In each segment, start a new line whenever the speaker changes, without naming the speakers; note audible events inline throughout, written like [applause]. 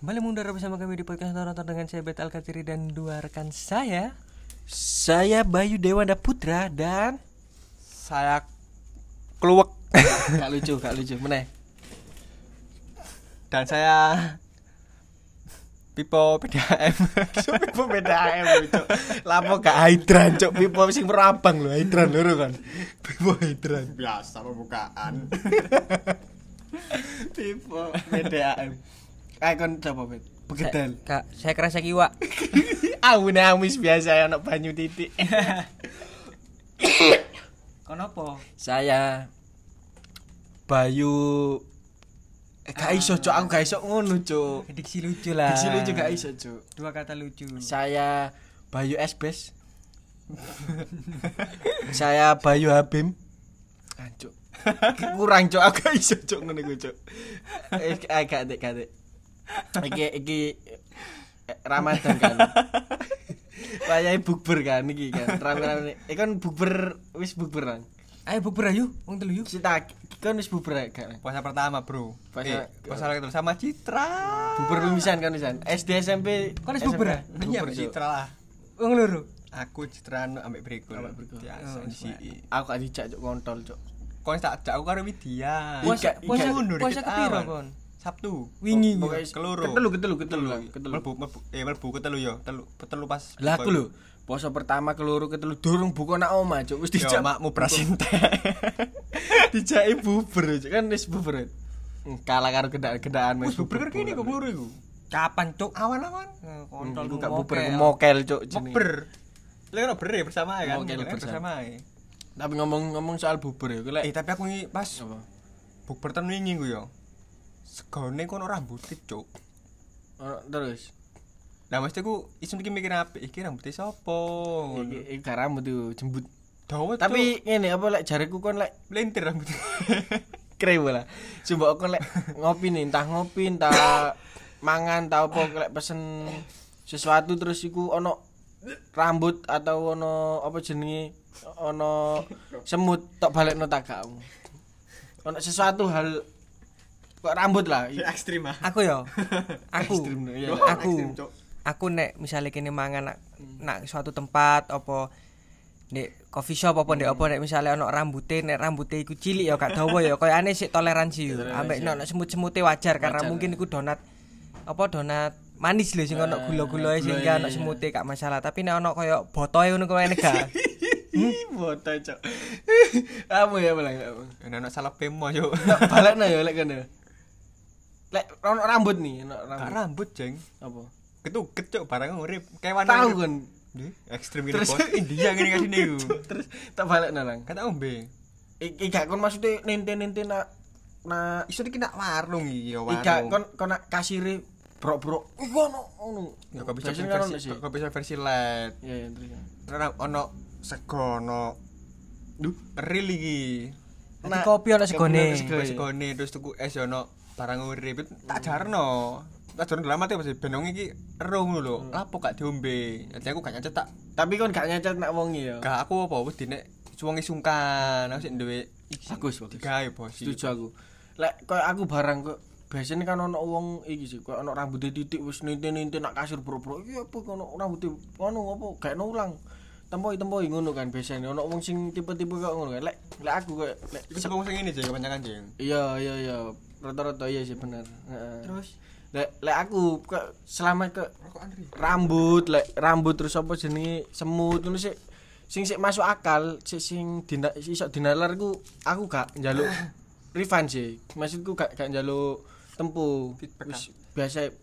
bertemu udara bersama kami di podcast nonton dengan saya Bet Alkatiri dan dua rekan saya.
Saya Bayu Dewanda Putra dan
Saya
keluak. [laughs] gak lucu, gak lucu. Meneh.
dan saya Pipo
[laughs]
PDAM.
Pipo beda ae lucu. Lapo gak hydran, cuk. Pipo sing merabang lho, hydran lho kan. Pipo hydran.
biasa
[laughs]
pembukaan
Pipo BDAM. Kae Eh, kon coba bet.
Eh,
Begedel.
Kak, saya kerasa
[laughs]
kiwa.
Awu amis biasa anak banyu titik.
Kenapa?
[laughs] Saya Bayu Eh, gak iso cuk, aku gak iso ngono cuk.
Diksi lucu lah.
Diksi lucu gak iso cuk.
Dua kata lucu.
Saya Bayu Esbes. saya Bayu Habim. Ancuk. [laughs] Kurang cuk, aku gak iso cuk ngene ku cuk. Eh eh, gak dek, gak dek. Iki iki eh, Ramadan [laughs] kan. Wayahe bukber kan iki kan. Rame-rame. Eh kan bukber wis bukber kan.
Ayo bubur ayo, wong telu yuk.
Cita kan wis bukber eh, kan.
Puasa pertama bro
Puasa-
eh, puasa lagi terus sama Citra
Bukber pemisahan kan pisan. SD SMP.
Kan wis bukber, ya?
Iya
Bukber eh? cuk.
Citra lah
Wong loro.
Aku Citra no ambek Brikul
Ambek Oh, Brikul.
Biasa di sini
Aku gak dijak cuk kontol cuk.
Kon tak ajak aku karo Widya
Puasa
Iga-
puasa
iga-
mundur
puasa
dikit
kepiro
awan.
kon?
Sabtu
Wingi.
Oh,
kuwi.
pokoknya-
Keluru.
Ketelu ketelu ketelu
Lagi.
ketelu.
Melbu melbu eh melbu ketelu yo telu ketelu pas
Lah aku lho, poso pertama keluru ketelu durung buka nak oma, cuk. Wis
Yo
dijak
makmu prasinte
[laughs] dijaki buber, cuk. Kan wis buber. Hmm, Kalah karo gendak-gendakan wis
Wis buber kan kene kok keluru iku
Kapan cuk?
Awan-awan
Eh,
Kontol
Kontol lu
gak buber
mokel.
mokel, cuk. jenenge. Oh,
Buber Lah kan ber bersama kan
Oke,
Kan
bersama.
bersama ya
Tapi ngomong-ngomong soal buber ya,
Eh
lek
tapi aku ini pas
apa?
bukber ten wingi ku yo Segone kono rambut cuk
Ono terus.
Lah mesti ku isun iki mikir apik iki rambutnya sapa
Iki iki gak rambut tuh jembut.
Dawa
Tapi ngene apa lek jareku kon lek
melintir
[laughs]
rambutnya
krewe lah. Coba aku lek ngopi nih, entah ngopi, entah mangan, entah apa lek pesen sesuatu terus iku ono rambut atau ono apa jenenge ono semut tok balekno tak gakmu. Ono sesuatu hal kok rambut lah. [laughs]
ekstrim ah
Aku yo. Aku.
Ekstrim, iya.
Aku.
Ekstrim, Cok.
Aku nek misalnya kene mangan nak, nak suatu tempat apa nek coffee shop apa nek apa nek misalnya ono rambute nek rambute iku cilik ya gak dawa ya koyo ane sik toleransi yo. Ambek nek ono semut-semute wajar karena mungkin iku donat apa donat manis lho sing ono gula-gulae sing gak ono semute gak masalah. Tapi nek ono koyo botoe ngono koyo nek gak.
Bota cok. [laughs] Kamu ya malah.
Ana anak salah pemo
[laughs]
yo.
Balekno ya lek kene. Lek ono rambut nih, ono
Gak
rambut.
rambut, Jeng.
Apa?
Ketuket cok barang urip. Kewan
Tahu
urip.
kan?
Duh, ekstrim gini
Terus
bos. India
[laughs]
gini kasih niku.
Terus tak balekno lang.
Kata ombe.
Iki gak kon maksudnya nente-nente nak nak
Isu iki nak warung iki ya warung.
Ika kon kon nak kasire brok-brok. Iku ono ono.
Ya, kok bisa
Biasanya kan ono
versi
sih.
kok bisa versi led.
Iya, iya, terus.
Terus ono sego ono. Duh, real iki.
Nanti kopi ono segone.
kopi ono segone.
Terus segone terus tuku es ya ono barang urip Itu tak jarno. Tak jarno dalam mati pasti benong iki ero ngono lho. Lapo gak diombe. Jadi aku gak nyacetak.
Tapi kon gak nyacat nak wongi ya.
Gak aku apa wis dine suwangi e sungkan. Aku sik duwe
Bagus, bagus.
digawe e, bos.
Setuju aku. Lek koyo aku barang kok biasanya kan ono wong iki sih koyo ono rambutnya titik wis ninte-ninte nak kasir brok-brok. Iki apa kono rambutnya ono apa gak ono ulang. Tempoi-tempoi ngono kan biasanya ono wong sing tipe-tipe kok ngono kan. Lek lek aku koyo lek
Iku sing sing ini jenenge kebanyakan jeng.
Iya, iya, iya. Rata-rata iya sih bener. Terus lek lek aku ke, selama ke rambut lek rambut terus apa jenenge semut ngono sih sing sik masuk akal sik sing dina iso dinalar ku aku gak njaluk refund sih. Maksudku gak gak njaluk tempu. Wis biasa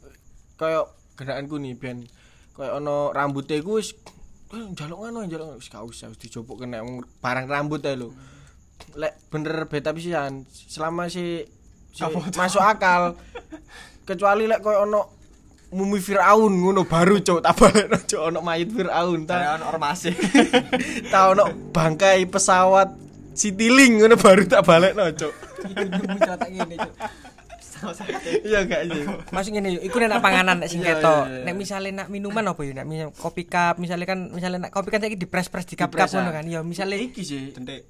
koyo gerakanku nih ben koyo ono rambute ku wis eh, njaluk ngono njaluk wis gak usah wis dijopok kena wong barang rambut ae lho. lek bener beta pisan selama si, si masuk akal kecuali lek koyo ono mumi Firaun ngono baru cok tak balekno cok ono mayit Firaun ta
Kayak ono ormase.
ta ono bangkai pesawat Citilink ngono baru tak balekno cok iya gak sih
Masuk ngene yo, iku nek nak panganan nek sing
[laughs] Iya,
ketok.
iya, iya.
Nek misale nak minuman apa yo, nek misal kopi cup, misale kan misale nak kopi kan saiki dipres-pres di cup-cup
Dipres,
ngono
ah.
kan. Yo misale
iki sih
Tentik.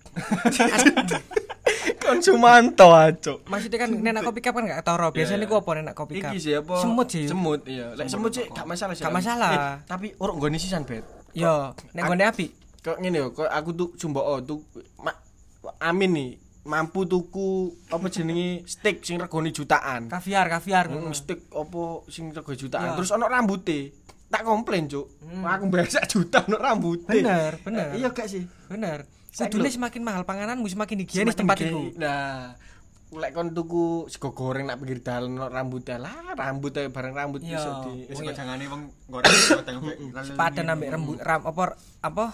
[laughs] Kon Sumanto ah, acuk.
Maksudnya kan nek nak kopi cup kan gak ketara. Biasanya
iya.
ku apa nek nak kopi cup?
Iki sih apa?
Semut sih.
Semut, iya. Lek semut sih gak masalah sih.
Gak masalah. Iya,
Eh, tapi urung nggone sisan, Bet.
Yo, nek
Ak-
gone api.
Kok ngene yo, kok aku tuh jumbo oh, tuh ma- amin nih mampu tuku apa jenenge steak sing regane jutaan.
Kaviar, kaviar.
Hmm, steak apa sing regane jutaan.
Ya.
Terus ono rambuté. Tak komplain, Cuk. Aku bayar sak juta ono rambuté.
Hmm. Bener, bener.
Eh, Iya gak sih?
Bener.
Saya
Kudune
lho.
semakin mahal pangananmu semakin
Semakin
higienis tempat
gede.
iku.
Nah, lek kon tuku sego goreng nak pinggir dalan ono rambutnya lah, rambut ae bareng rambut
Iya.
iso di.
Ya sing jangane wong goreng kok tengok
Sepadan ambek rembut ram apa apa?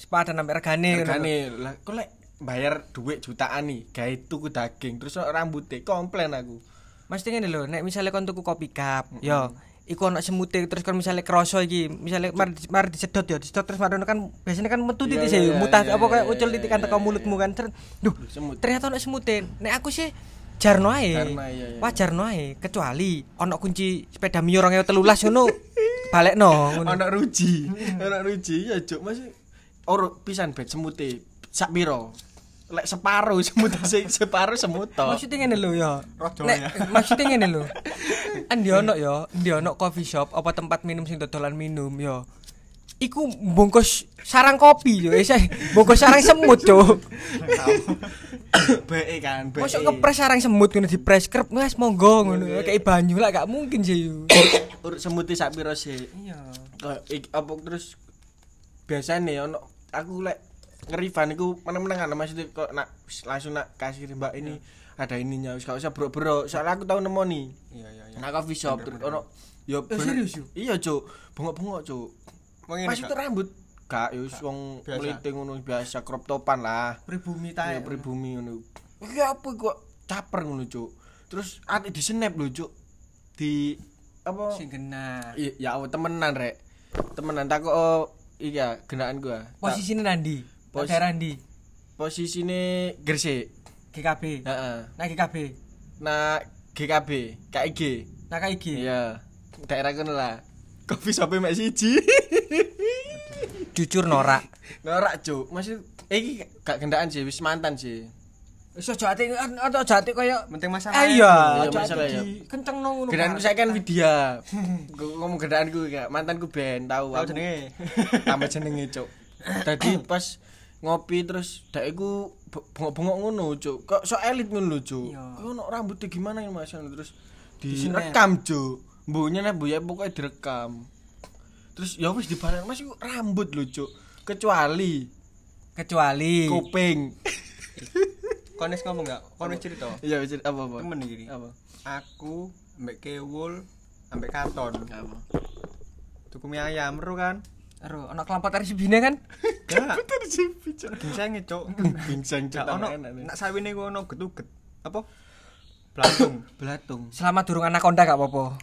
Sepadan ambek regane. ngono.
Regane lah, kok lek bayar duit jutaan nih, gawe tuku daging terus ono rambutnya komplain aku.
Mesti ngene lho, nek misale kon tuku kopi cup, yo iku ono semute terus kon misale kroso iki, misale mari di- mari disedot yo, disedot terus mari ono kan biasanya kan metu
Iya,
titik
iya,
sih,
iya,
mutah
iya,
apa kayak
iya,
ucul
iya,
titik kan teko mulutmu kan. Ter- Duh,
Semut.
ternyata ono semute. Nek aku sih jarno ae.
Jarno, iya, iya.
Wajarno ae, kecuali ono kunci sepeda Mio 2013 ngono balekno ngono.
Ono Hmm. ruji. Ono ruji ya juk masih oro pisan bet semute. Sak piro? Lek [laughs] separo semut sing separo semut to. [coughs]
Maksudnya ngene lho ya.
Rodo
Nek
ya.
[laughs] maksudnya ngene lho. Endi ono ya, endi ono coffee shop apa tempat minum sing dodolan minum ya. Iku bungkus sarang kopi yo, eh say, bungkus sarang semut yo.
Bae kan, bae.
Masuk ngepres sarang semut ngono dipres krep mas monggo ngono. Kayak banyu lah gak mungkin sih yo.
Urut semute sak piro sih?
Iya.
Kayak ik- apa terus biasanya ono aku lek ngerivan iku meneng-meneng kan maksudnya kok nak wis langsung nak kasih mbak ini ada ininya wis gak usah bro-bro soalnya aku tau nemoni
Iya iya iya.
nak coffee shop terus ono ya bener-
serius, Yu?
iya cuk bengok-bengok cuk
Wong ngene
maksudnya rambut gak ya wis wong
Biasa.
meliting ngono biasa crop topan lah
Pribumi
ya pribumi ngono iki apa kok caper ngono cuk terus ati di snap lho cuk di apa
Sing kena.
Iya, ya Allah, temenan rek. Temenan tak kok oh, iya genaan gua. Posisi
Posisine nandi?
Pos-
Daerah ndi?
posisine Gresik.
GKB.
Heeh.
Nah GKB.
Nah, GKB, KIG.
Nah KIG.
Iya. Daerah kono lah. Kopi shop mek siji. [laughs]
Jujur norak.
Norak, Cuk. Masih eh, iki gak gendaan sih, wis mantan sih.
Iso jati atau jati koyo
Penting masalah.
Eh iya,
Iya,
jadi
masalah ya.
kenceng no ngono.
Gendaanku saya kan Widya. Gua ngomong gendaanku gak, mantanku Ben tahu aku.
Tahu Oh, jenenge. [laughs]
tambah jenenge cuk tadi pas ngopi terus dek iku be- bengok-bengok ngono cuk kok sok elit ngono lho cuk
Iya.
kok ono rambutnya gimana ini mas terus direkam cuk mbunya nek mbuya pokoknya direkam terus ya wis dibalik mas iku rambut lho cuk kecuali
kecuali
kuping [laughs]
Kon wis ngomong gak? Kon wis cerita.
iya wis apa apa
Temen iki.
apa
Aku ambek Kewul ambek Katon.
apa
Tuku mie ayam ro kan.
aduh anak kelompok dari Sibine kan
Gak.
terus cipi cuk
Gingsenge cuk.
bingsang cuk
Gak ono
enak, enak.
nak sawine ku ono getuget. Apa? Belatung.
belatung
selama durung anakonda gak apa-apa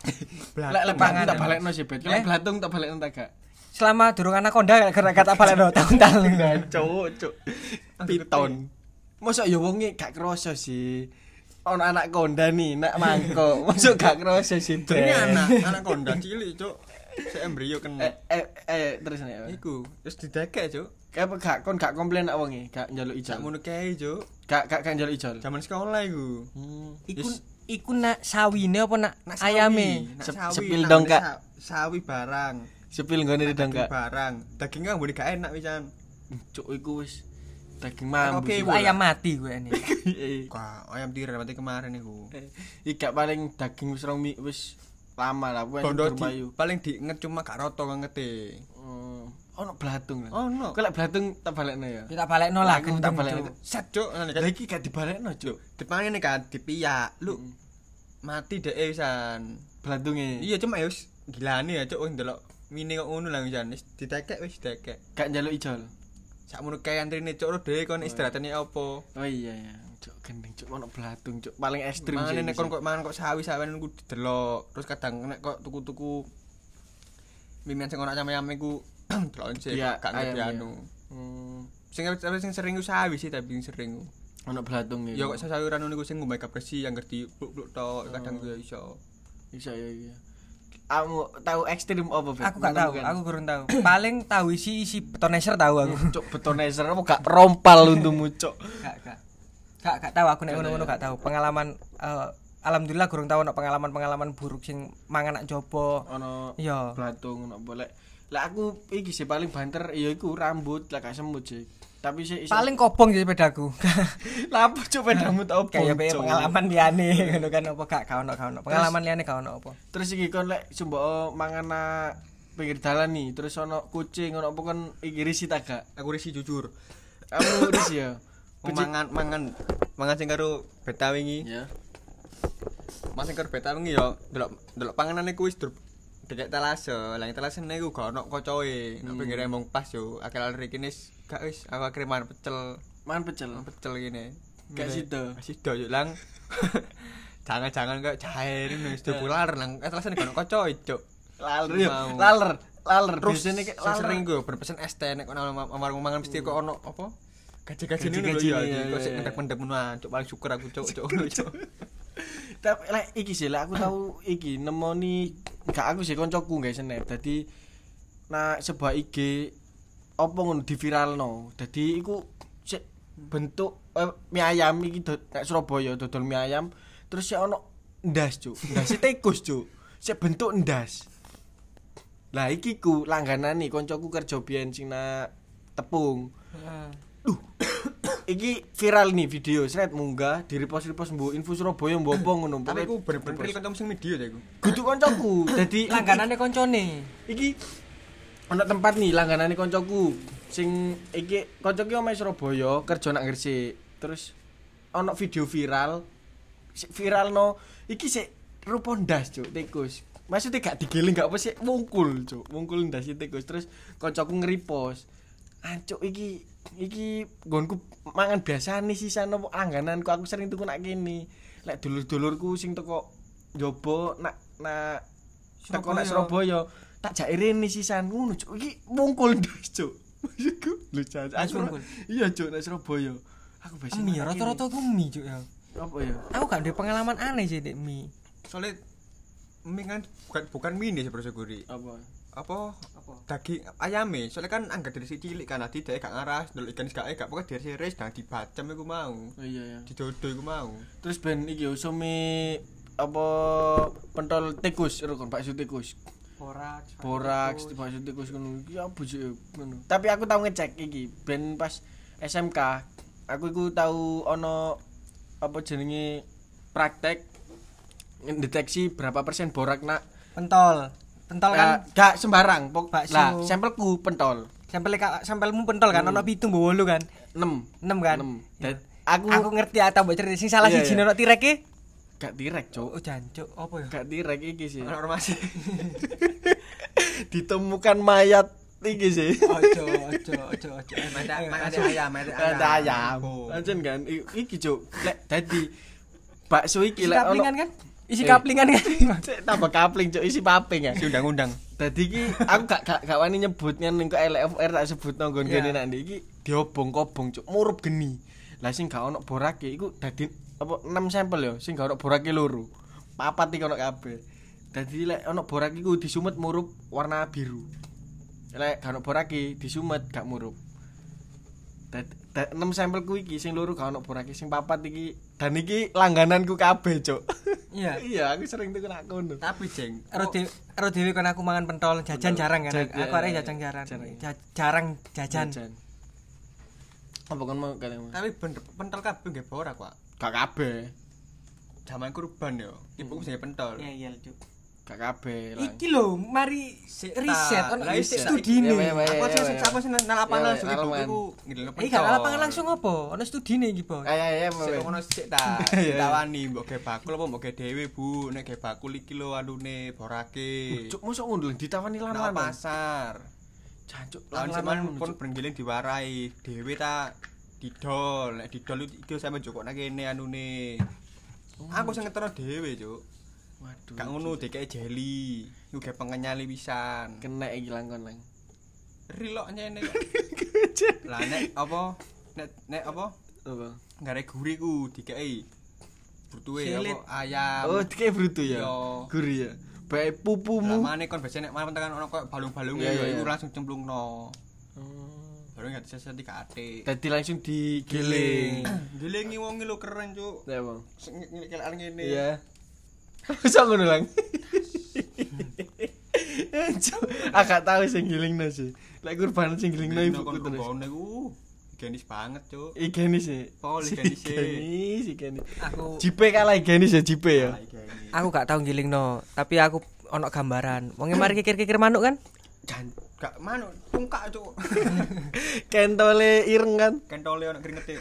lek lek
Pangan,
tak
ya.
balekno sih bet
Eh?
lek belatung tak balekno tak gak
selama durung anakonda gak kena kata balik no tahun tahun
cowok cuk piton masa ya wonge gak kerasa sih ono anak konda nih nak [laughs] mangko masa gak kerasa sih
Ini
Bre?
anak, anak konda cilik cuk. Sik
eh
embrio kena.
eh eh terus nih
Iku, terus didekek cuk.
apa gak kon gak komplain nak wonge gak njaluk
Gak
ijol
ngono kae cuk.
gak gak gak njaluk ijol
Zaman sekolah Hmm. iku.
iku
Yes.
iku nak sawine apa nak, nak ayame
Nak
Sep-
sawi,
sepil
nak
dong,
ngone
Kak.
sa- Sawi barang.
sepil ngene
Daging
dong gak
barang. Daging kan boleh gak enak pisan.
cuk iku wis daging mambu
Oke,
sih.
Iku ayam mati gue ini
[laughs] Eh,
Wah, ayam tirai mati kemarin iku.
iki gak paling daging wis rong mi- wis lama lah wis
Bondo di,
turbayu
paling diinget cuma gak roto ngete.
Hmm, ono belatung lah
Oh,
Ono.
kok lek belatung tak balekno ya
kita balik no lah
Aku tak
gendeng,
balekno.
Cuk.
Set cuk, ngene
Lah
kan.
iki gak dibalekno, Cuk. Hmm.
Dipangin nih kan dipiyak. Lu mati deh pisan.
Blantunge.
Iya cuma ya wis gilane ya cuk wong delok mini kok ngono lah pisan. Wis ditekek wis ditekek.
Gak njaluk ijol.
Sakmono kae antrine cuk lu dhewe kon istirahatane apa?
Oh iya ya. Cuk gendeng, Cuk ono belatung, Cuk. Paling ekstrim
Mangan
sih
nek
iki,
kon
Cuk.
kok mangan kok sawi-sawian ku didelok. Terus kadang nek kok tuku-tuku mimian sing ono ayam-ayam ku [clears throat] delok sih
Iya,
gak ngerti
ayam, iya.
anu.
Hmm,
Sing sing sering ku sawi sih tapi sing sering ku.
ono belatung
Ya kok sayuran ngono iku sing nggo makeup bersih yang ngerti bluk-bluk tok kadang
Oh.
ya iso.
Bisa ya iya. Aku tahu ekstrim apa, Bet?
aku gak tahu
Menemukan. [laughs]
aku kurang tahu paling tahu isi isi betonizer tahu aku
Cuk betonizer apa gak rompal untukmu, Cuk.
gak gak gak gak tahu aku nek ngono-ngono gak tahu pengalaman eh, alhamdulillah gurung tahu nek pengalaman-pengalaman buruk sing mangan nak jopo
ono
iya
blatung ngono boleh lah aku iki sih paling banter ya iku rambut lah gak semut sih tapi sih [laughs] iso-
paling kobong
[laughs]
jadi pedaku
lah apa coba rambut opo
kayak
Cuk?
pengalaman liane ngono kan apa gak kau ono gak ono pengalaman liane kau ono apa
terus iki kon lek sumbo mangan nak pinggir dalan nih terus ono kucing ono apa kon iki risi tak gak
aku risi jujur
[coughs] kamu risi ya
Aku mangan mangan mangan sing karo beta wingi
ya
mangan sing karo beta wingi yo delok delok panganane ku wis dur- dekat talase lah talase ne ku gak ono kocoe nang pinggir emong pas yo akal arek kene wis gak wis aku akhirnya mangan pecel
mangan pecel
pecel gini
Gak sido.
kasih do yuk lang [laughs] jangan-jangan kayak cair ini sudah pular lang eh terus ini kono kocok cok
laler ya
Mau.
laler laler
terus
biasanya kayak laler
sering gue berpesan es teh nek kono mam- warung mangan mesti kok ono apa gaji-gaji ini lho
Gaji-gaji
ya
ini, iya,
kok sik
iya.
mendek-mendek menan cok paling syukur aku cok cok cok
tapi lek iki sih lek aku tahu iki nemoni gak aku sih koncoku guys snap dadi nah sebuah IG opo ngono diviralno dadi iku sik bentuk eh, mie ayam iki do- nek Surabaya dodol mie ayam terus sik ono ndas cuk ndas tikus cuk sik bentuk ndas lah iki ku langganan nih koncoku kerja biyen sing nak tepung [coughs] iki viral nih video sret munggah di repost repost mbok info Surabaya mbok apa ngono pokoknya
tapi aku bener-bener real kontong sing media ya aku
kudu koncoku dadi
langganane koncone
iki ana tempat nih langganane koncoku sing iki koncoku omahe Surabaya kerja nang Gresik terus ana video viral sik viral no iki sik rupa ndas cuk tikus maksudnya gak digiling gak apa sik wungkul cuk wungkul ndas sik tikus terus koncoku ngeripos ancuk iki iki nggonku mangan biasane sisan opo langgananku aku sering tuku nak kene lek dulur-dulurku sing teko njaba nak nak teko nak Surabaya tak jak irene sisan ngono cuk iki wungkul [laughs] ndas cuk maksudku lho jan
Wis
aku
wungkul?
iya cuk nak Surabaya aku biasa
mie ya
nak
rata-rata aku mie cuk ya
kene. apa ya
aku gak ada pengalaman aneh sih dek mie
soalnya mie kan bukan bukan mie nih sebenarnya guri
apa
apa daging ayame soalnya kan anggar dari si cilik kan tadi dia gak ngaras dulu ikan gak gak pokoknya dari si res dan dibacem aku mau
oh iya ya
didodo aku mau
terus ben iki usumi apa pentol tikus karo kon bakso tikus
borak
boraks bakso tikus ngono iki apa sih ngono tapi aku tau ngecek iki ben pas SMK aku iku tau ono apa jenenge praktek deteksi berapa persen borak nak
pentol pentol
Nah,
kan
gak sembarang pok
Bakso.
lah sampelku pentol
sampel sampelmu pentol
Hmm.
kan ono pitung bawa lu kan
6
enam kan
Enam.
Iya.
Dan aku-
aku ngerti atau mbok cerita sing salah
Iya,
siji
iya.
ono e. tireke
gak direk cok
oh jancuk apa ya
gak direk iki sih [laughs]
orang masih
ditemukan mayat iki sih
ojo ojo ojo ojo
Eh,
Mata- mata ada ayam
[laughs]
mata
ada ayam
Oh.
Anjen kan I- iki cok lek dadi bakso iki
isi
lek ono
kaplingan kan isi
Eh.
kaplingan [laughs] kan
Cek, tambah kapling cok isi paping ya
[laughs]
si undang-undang
dadi iki aku gak gak gak wani nyebutnya ning kok LFR tak sebut nang nggon kene
Iya.
nak ndi. iki diobong-kobong cuk murup geni lah sing gak ono borake iku dadi apa 6 sampel ya sing gak ono borake loro papat iki ono kabeh dadi lek ono borake iku disumet murup warna biru lek gak ono borake disumet gak murup Dat- dat- 6 sampelku iki sing loro gak ono borake sing papat iki dan iki langgananku kabeh cuk
iya
[laughs] iya aku sering tuku nak kono
tapi jeng
Ero dewe, ero dewe kan aku mangan pentol, jajan jarang kan.
Jajan,
aku arek
eh,
jajan jarang.
jarang.
Ja- jarang jajan.
Jan. Apa kon mau kalian mau?
tapi bener pentol kabeh nggih borak pak
Gak kabeh.
zaman kurban yo
Hmm.
ibuku jenenge pentol
iya,
Gak kabeh lah.
Iki lho, mari riset ono
Lah,
riset
riset.
studine.
Ya, ya, ya.
aku sih aku sih nang
Iya,
lapangan langsung
iya,
ibuku
lapangan.
iku ngidelno pentol
Iki Eh, gak lapangan langsung apa? Ono studine iki, Bos.
Ayo ayo
sik
ayo.
ngono sik
[laughs]
ta ditawani mbok ge bakul apa mbok ge dhewe bu nek ge bakul iki lho anune borake
Cuk mosok ngono lho, ditawani
nang
lan-lan.
pasar
Jancuk
Lawan zaman
lan-lan
pun berenggiling diwarai, dhewe ta didol, nek didol itu iki sampe jokok nang kene anune.
Oh,
Aku sing ngetero dhewe, Cuk.
Waduh.
Gak ngono dikek jeli, iku ge pengenyali pisan.
Kena iki lang kon [laughs] lang.
Rilok nyene. Lah nek apa nek nek apa
Apa?
gare guri ku dikeki butuhe
Silit.
apa ayam.
Oh, dikek brutu ya.
Iya.
Guri ya. Baik pupumu.
Lamane kon biasane nek malam tekan ono koyo balung-balunge
Iya,
ya
iya,
iku
iya.
langsung cemplungno.
Oh.
baru nggak bisa sedih kate
Tadi langsung digiling.
[clears throat] gilingi wong lo keren cuk
Ya, Bang.
ngelak ngene
Iya. [laughs] Bisa ngono [laughs] lang. Agak tahu sing gilingno sih. Lek kurban sing gilingno
Ini
ibuku
kon
terus.
kebon iku genis banget cuk
Igenis ya.
Oh,
Si
igenis ya.
Igenis, igenis.
aku
Jipe kalah igenis ya jipe ya.
aku gak tau ngilingno tapi aku ono gambaran wong [clears throat] mari kikir-kikir manuk kan
Jan, gak manut tungkak cuk [laughs]
Kentole ireng kan. [laughs]
kentole ono keringet e.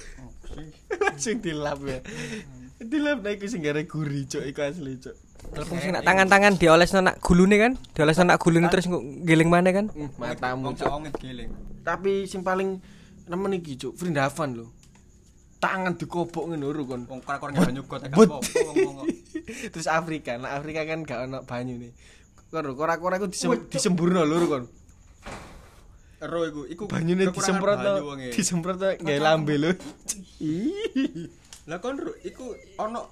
Langsung dilap ya. Dilap nek iku sing gara gurih cok iku asli cok.
Terus sing nak tangan-tangan diolesno nak gulune kan diolesno nak gulune terus nggo ngiling maneh kan
Hmm,
Matamu
wong
cok.
sawange giling
Tapi sing paling nemen iki cok, Vrindavan lho. Tangan dikobok ngono lho kon. [laughs]
wong krakor nggak nyugot gak
But.
apa-apa wong wong
Terus Afrika, nah Afrika kan gak ono banyu nih. Kon korak-korak aku disem disemburno lho kon.
ero iku iku
Banyune
kekurangan
disemprot to,
banyu wonge.
disemprot to gawe lambe lho. [laughs] Ih.
Lah kon Ru, iku ono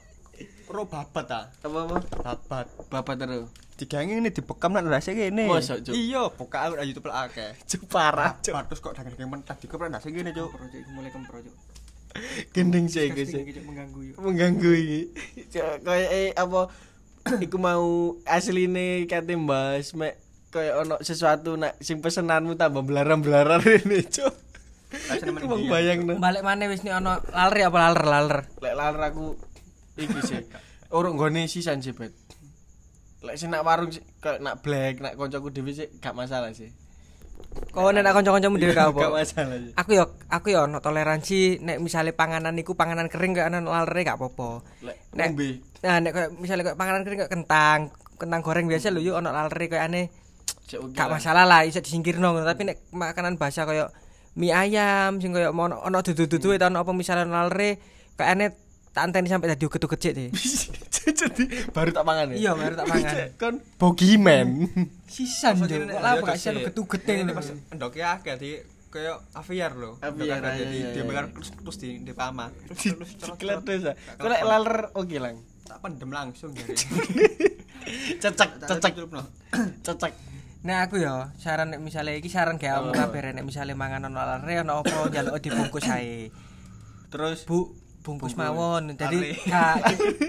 ro babat ta?
Apa-apa?
Babat.
Bapak terus.
Digange ngene dibekam nak rasa kene.
Masa, Cuk?
Iya, buka aku ayu tepel akeh.
Cuk parah cuk.
Babat terus kok daging mentah dikeprak rasa kene, Cuk.
mulai kempro cuk
Gendeng sih iku sih.
Casting iki, Cuk, mengganggu yuk
mengganggu iki. Cok, Kayak eh, apa [coughs] iku mau asline kate Mbas mek kayak ono sesuatu nak sing pesenanmu tambah belaran-belaran [laughs] ini cuk.
Rasa nemen
Aku mau
ndi?
bayangno.
balik maneh wis nih ono laler ya, apa laler laler
lek lar aku iki sih urung nggone sisan sih bet lek sing nak warung sih kayak nak black nak koncoku dhewe sih gak masalah sih
kowe nek nak kanca-kancamu dhewe gak apa
gak masalah sih
aku yo aku yo ono toleransi nek misalnya panganan iku panganan kering kayak ono lalere gak apa-apa
lek
Nek-
ngombe [laughs]
nah nek kayak misalnya kayak panganan kering kayak kentang kentang goreng biasa lho yo ono lalere kayak aneh
cek oke
gak
lah.
masalah lah iso disingkirno ngono. tapi nek makanan basa koyo mie ayam sing koyo ono ono
Hmm.
dudu-dudu itu ono apa misalnya ono lalere kayak aneh tak anteni sampe dadi uget-uget
[laughs]
deh
jadi baru tak pangan ya
Iya, baru tak pangan.
Cek, ya kon bogiman
sisan
Masa
jo
kene nek
lah
ayu
kok iso
kesik.
[laughs]
uget-uget
Nih,
ngene
pas endoke akeh di kayak aviar lho.
Aviar,
Endokan
iya,
jadi
iya, iya.
dibekar terus terus di di pama.
[laughs]
Terus terus terus,
ceklek
terus.
desa kok lek laler oh oke lang
tak pendem langsung jadi.
cecek cecek cecek
Nah aku ya saran nek misale iki saran gawe awakmu kabeh Ren. nek misale mangan ono lalere ono apa njaluk dibungkus ae.
Terus
Bu bungkus mawon. Jadi
Lare.
gak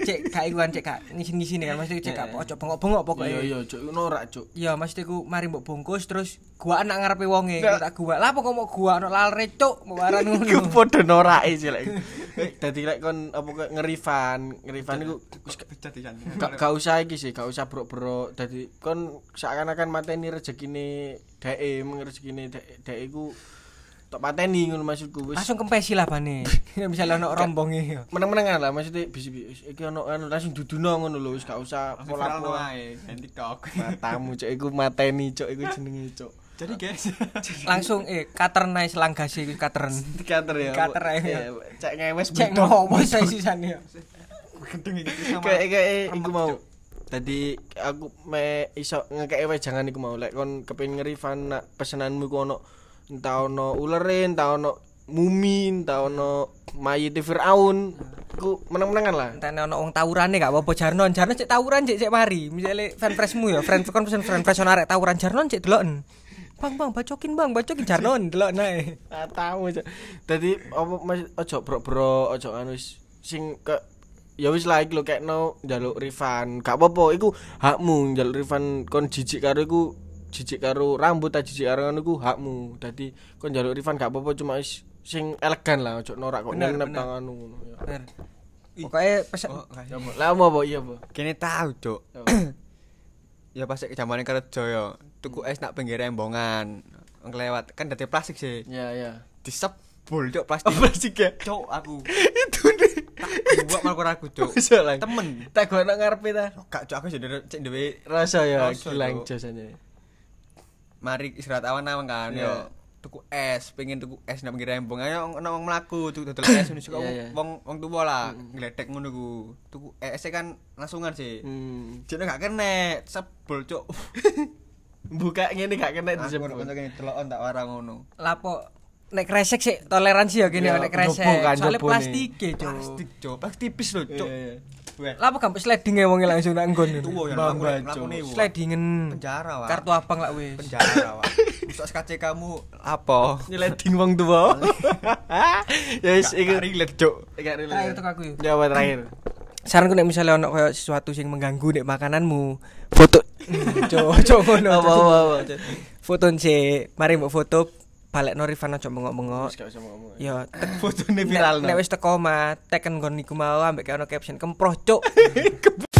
cek gak ikuan cek gak ngisi-ngisine kan maksudnya cek gak pojok bengok-bengok pokoke.
iya iya cuk norak cuk
Iya maksudnya ku mari mbok bungkus terus gua anak ngarepe wonge ku tak gua. Lah kok mau gua ono lalere cuk mau waran
Iku
ngono.
podo norake sih lek. Eh, Dadi lek kon apa kok ngerifan, ngerifan iku
wis pecat di sana.
gak gak usah iki sih, gak usah brok-brok. Dadi kon seakan-akan mateni rezekine dheke, mung rezekine dhek- dhek iku tok pateni ngono maksudku wis.
Langsung kempesi lah bane. Nek misale ono rombonge ya.
Meneng-menengan lah maksudnya bisi bisi iki ono anu langsung duduno ngono lho, wis gak usah
Langsung viral no
pola-pola.
ae, dan TikTok.
Matamu cok iku mateni cok iku jenenge cok.
[laughs] Jadi [laughs] guys,
Langsung eh katernai selanggasi ku katern.
Dikater ya.
Dikater ae.
Ya, Cek ngewes
Cek
bedok.
ngopo sih sisane ya.
gedung iki sama
kayak kayak iku mau tadi aku me iso ngekek jangan iku mau lek kon kepengin ngerifan nak pesenanmu ku ono entah ono ulere entah ono mumi entah ono mayit Firaun ku meneng-menengan lah
Entene ono wong tawurane gak apa-apa Jarnon. Jarnon cek tawuran cek cek mari. Misale fanpressmu ya, friend kon pesen fanpress ono arek tawuran Jarnon cek deloken. Bang bang bacokin Bang, bacokin Jarnon delok nae.
Ah, tahu aja tadi apa mas ojo bro bro ojo anu wis. sing ke ya wis lah iki lho kekno njaluk refund gak apa-apa iku hakmu njaluk refund kon jijik karo iku jijik karo rambut ta jijik karo ngono iku hakmu dadi kon njaluk refund gak apa-apa cuma wis sing elegan lah ojo norak kok
Bener,
nyenep
bener.
tanganmu ngono ya
Bener. Pokoke pesen
Oh, kasih.
Ya, Mbok. lah apa Mbok? iya apa
kene tahu cuk ya pas zaman kerja ya tuku es nak pinggir embongan ngelewat kan dari plastik
[coughs]
sih
ya ya
disebul cuk plastik Oh, plastik ya cuk aku [laughs] itu deh buat malah aku cuk
iso lah
temen
tak gono ngarepe ta
kak cuk aku jadi cek dewe
rasa ya
Rasa,
gilang
Cuk.
jasane
mari istirahat awan awan kan
Iya.
yo tuku es pengen tuku es nak pinggir embongan ya ono wong mlaku tuku dodol es ini suka
Iya,
wong-
iya.
wong wong tuwa lah ngledek ngono ku tuku es e kan langsungan sih
hmm.
jadi gak kena sebel
[laughs]
cuk
buka ngene gak kena
Aku
disebut
ngono kono kene deloken tak warang ngono.
lapo nek kresek sih toleransi ya gini
Iya,
nek kresek.
njobo kan,
Soale
njobone.
plastik e, Cuk.
Plastik, Cuk. Plastik tipis lho, Cuk.
Iya, iya.
Weh.
Lah apa gampang sliding ya wonge langsung e nang nggon.
Tuwa ya
Bang
mlaku-
Bajo.
mlaku niwa.
Slidingen.
penjara wak.
Kartu abang lah wis.
penjara wak. Rusak SKC kamu apa?
[laughs] Nyeleding wong
[laughs]
tua. Ya wis iku.
relate, Cuk.
Gak
Terakhir
relate.
tuh aku yuk.
Jawab terakhir.
Saranku nek misalnya ono koyo sesuatu sing mengganggu nek makananmu, foto [laughs] cocok ngono.
Apa apa apa.
Foto sih, mari mbok foto balik Rifan aja bengok-bengok.
Gak usah ngomong. [laughs]
Yo, tek
Fotone
nek-
viral.
Nek wis teko mah, teken nggon niku mau ambek ono caption kemproh cuk.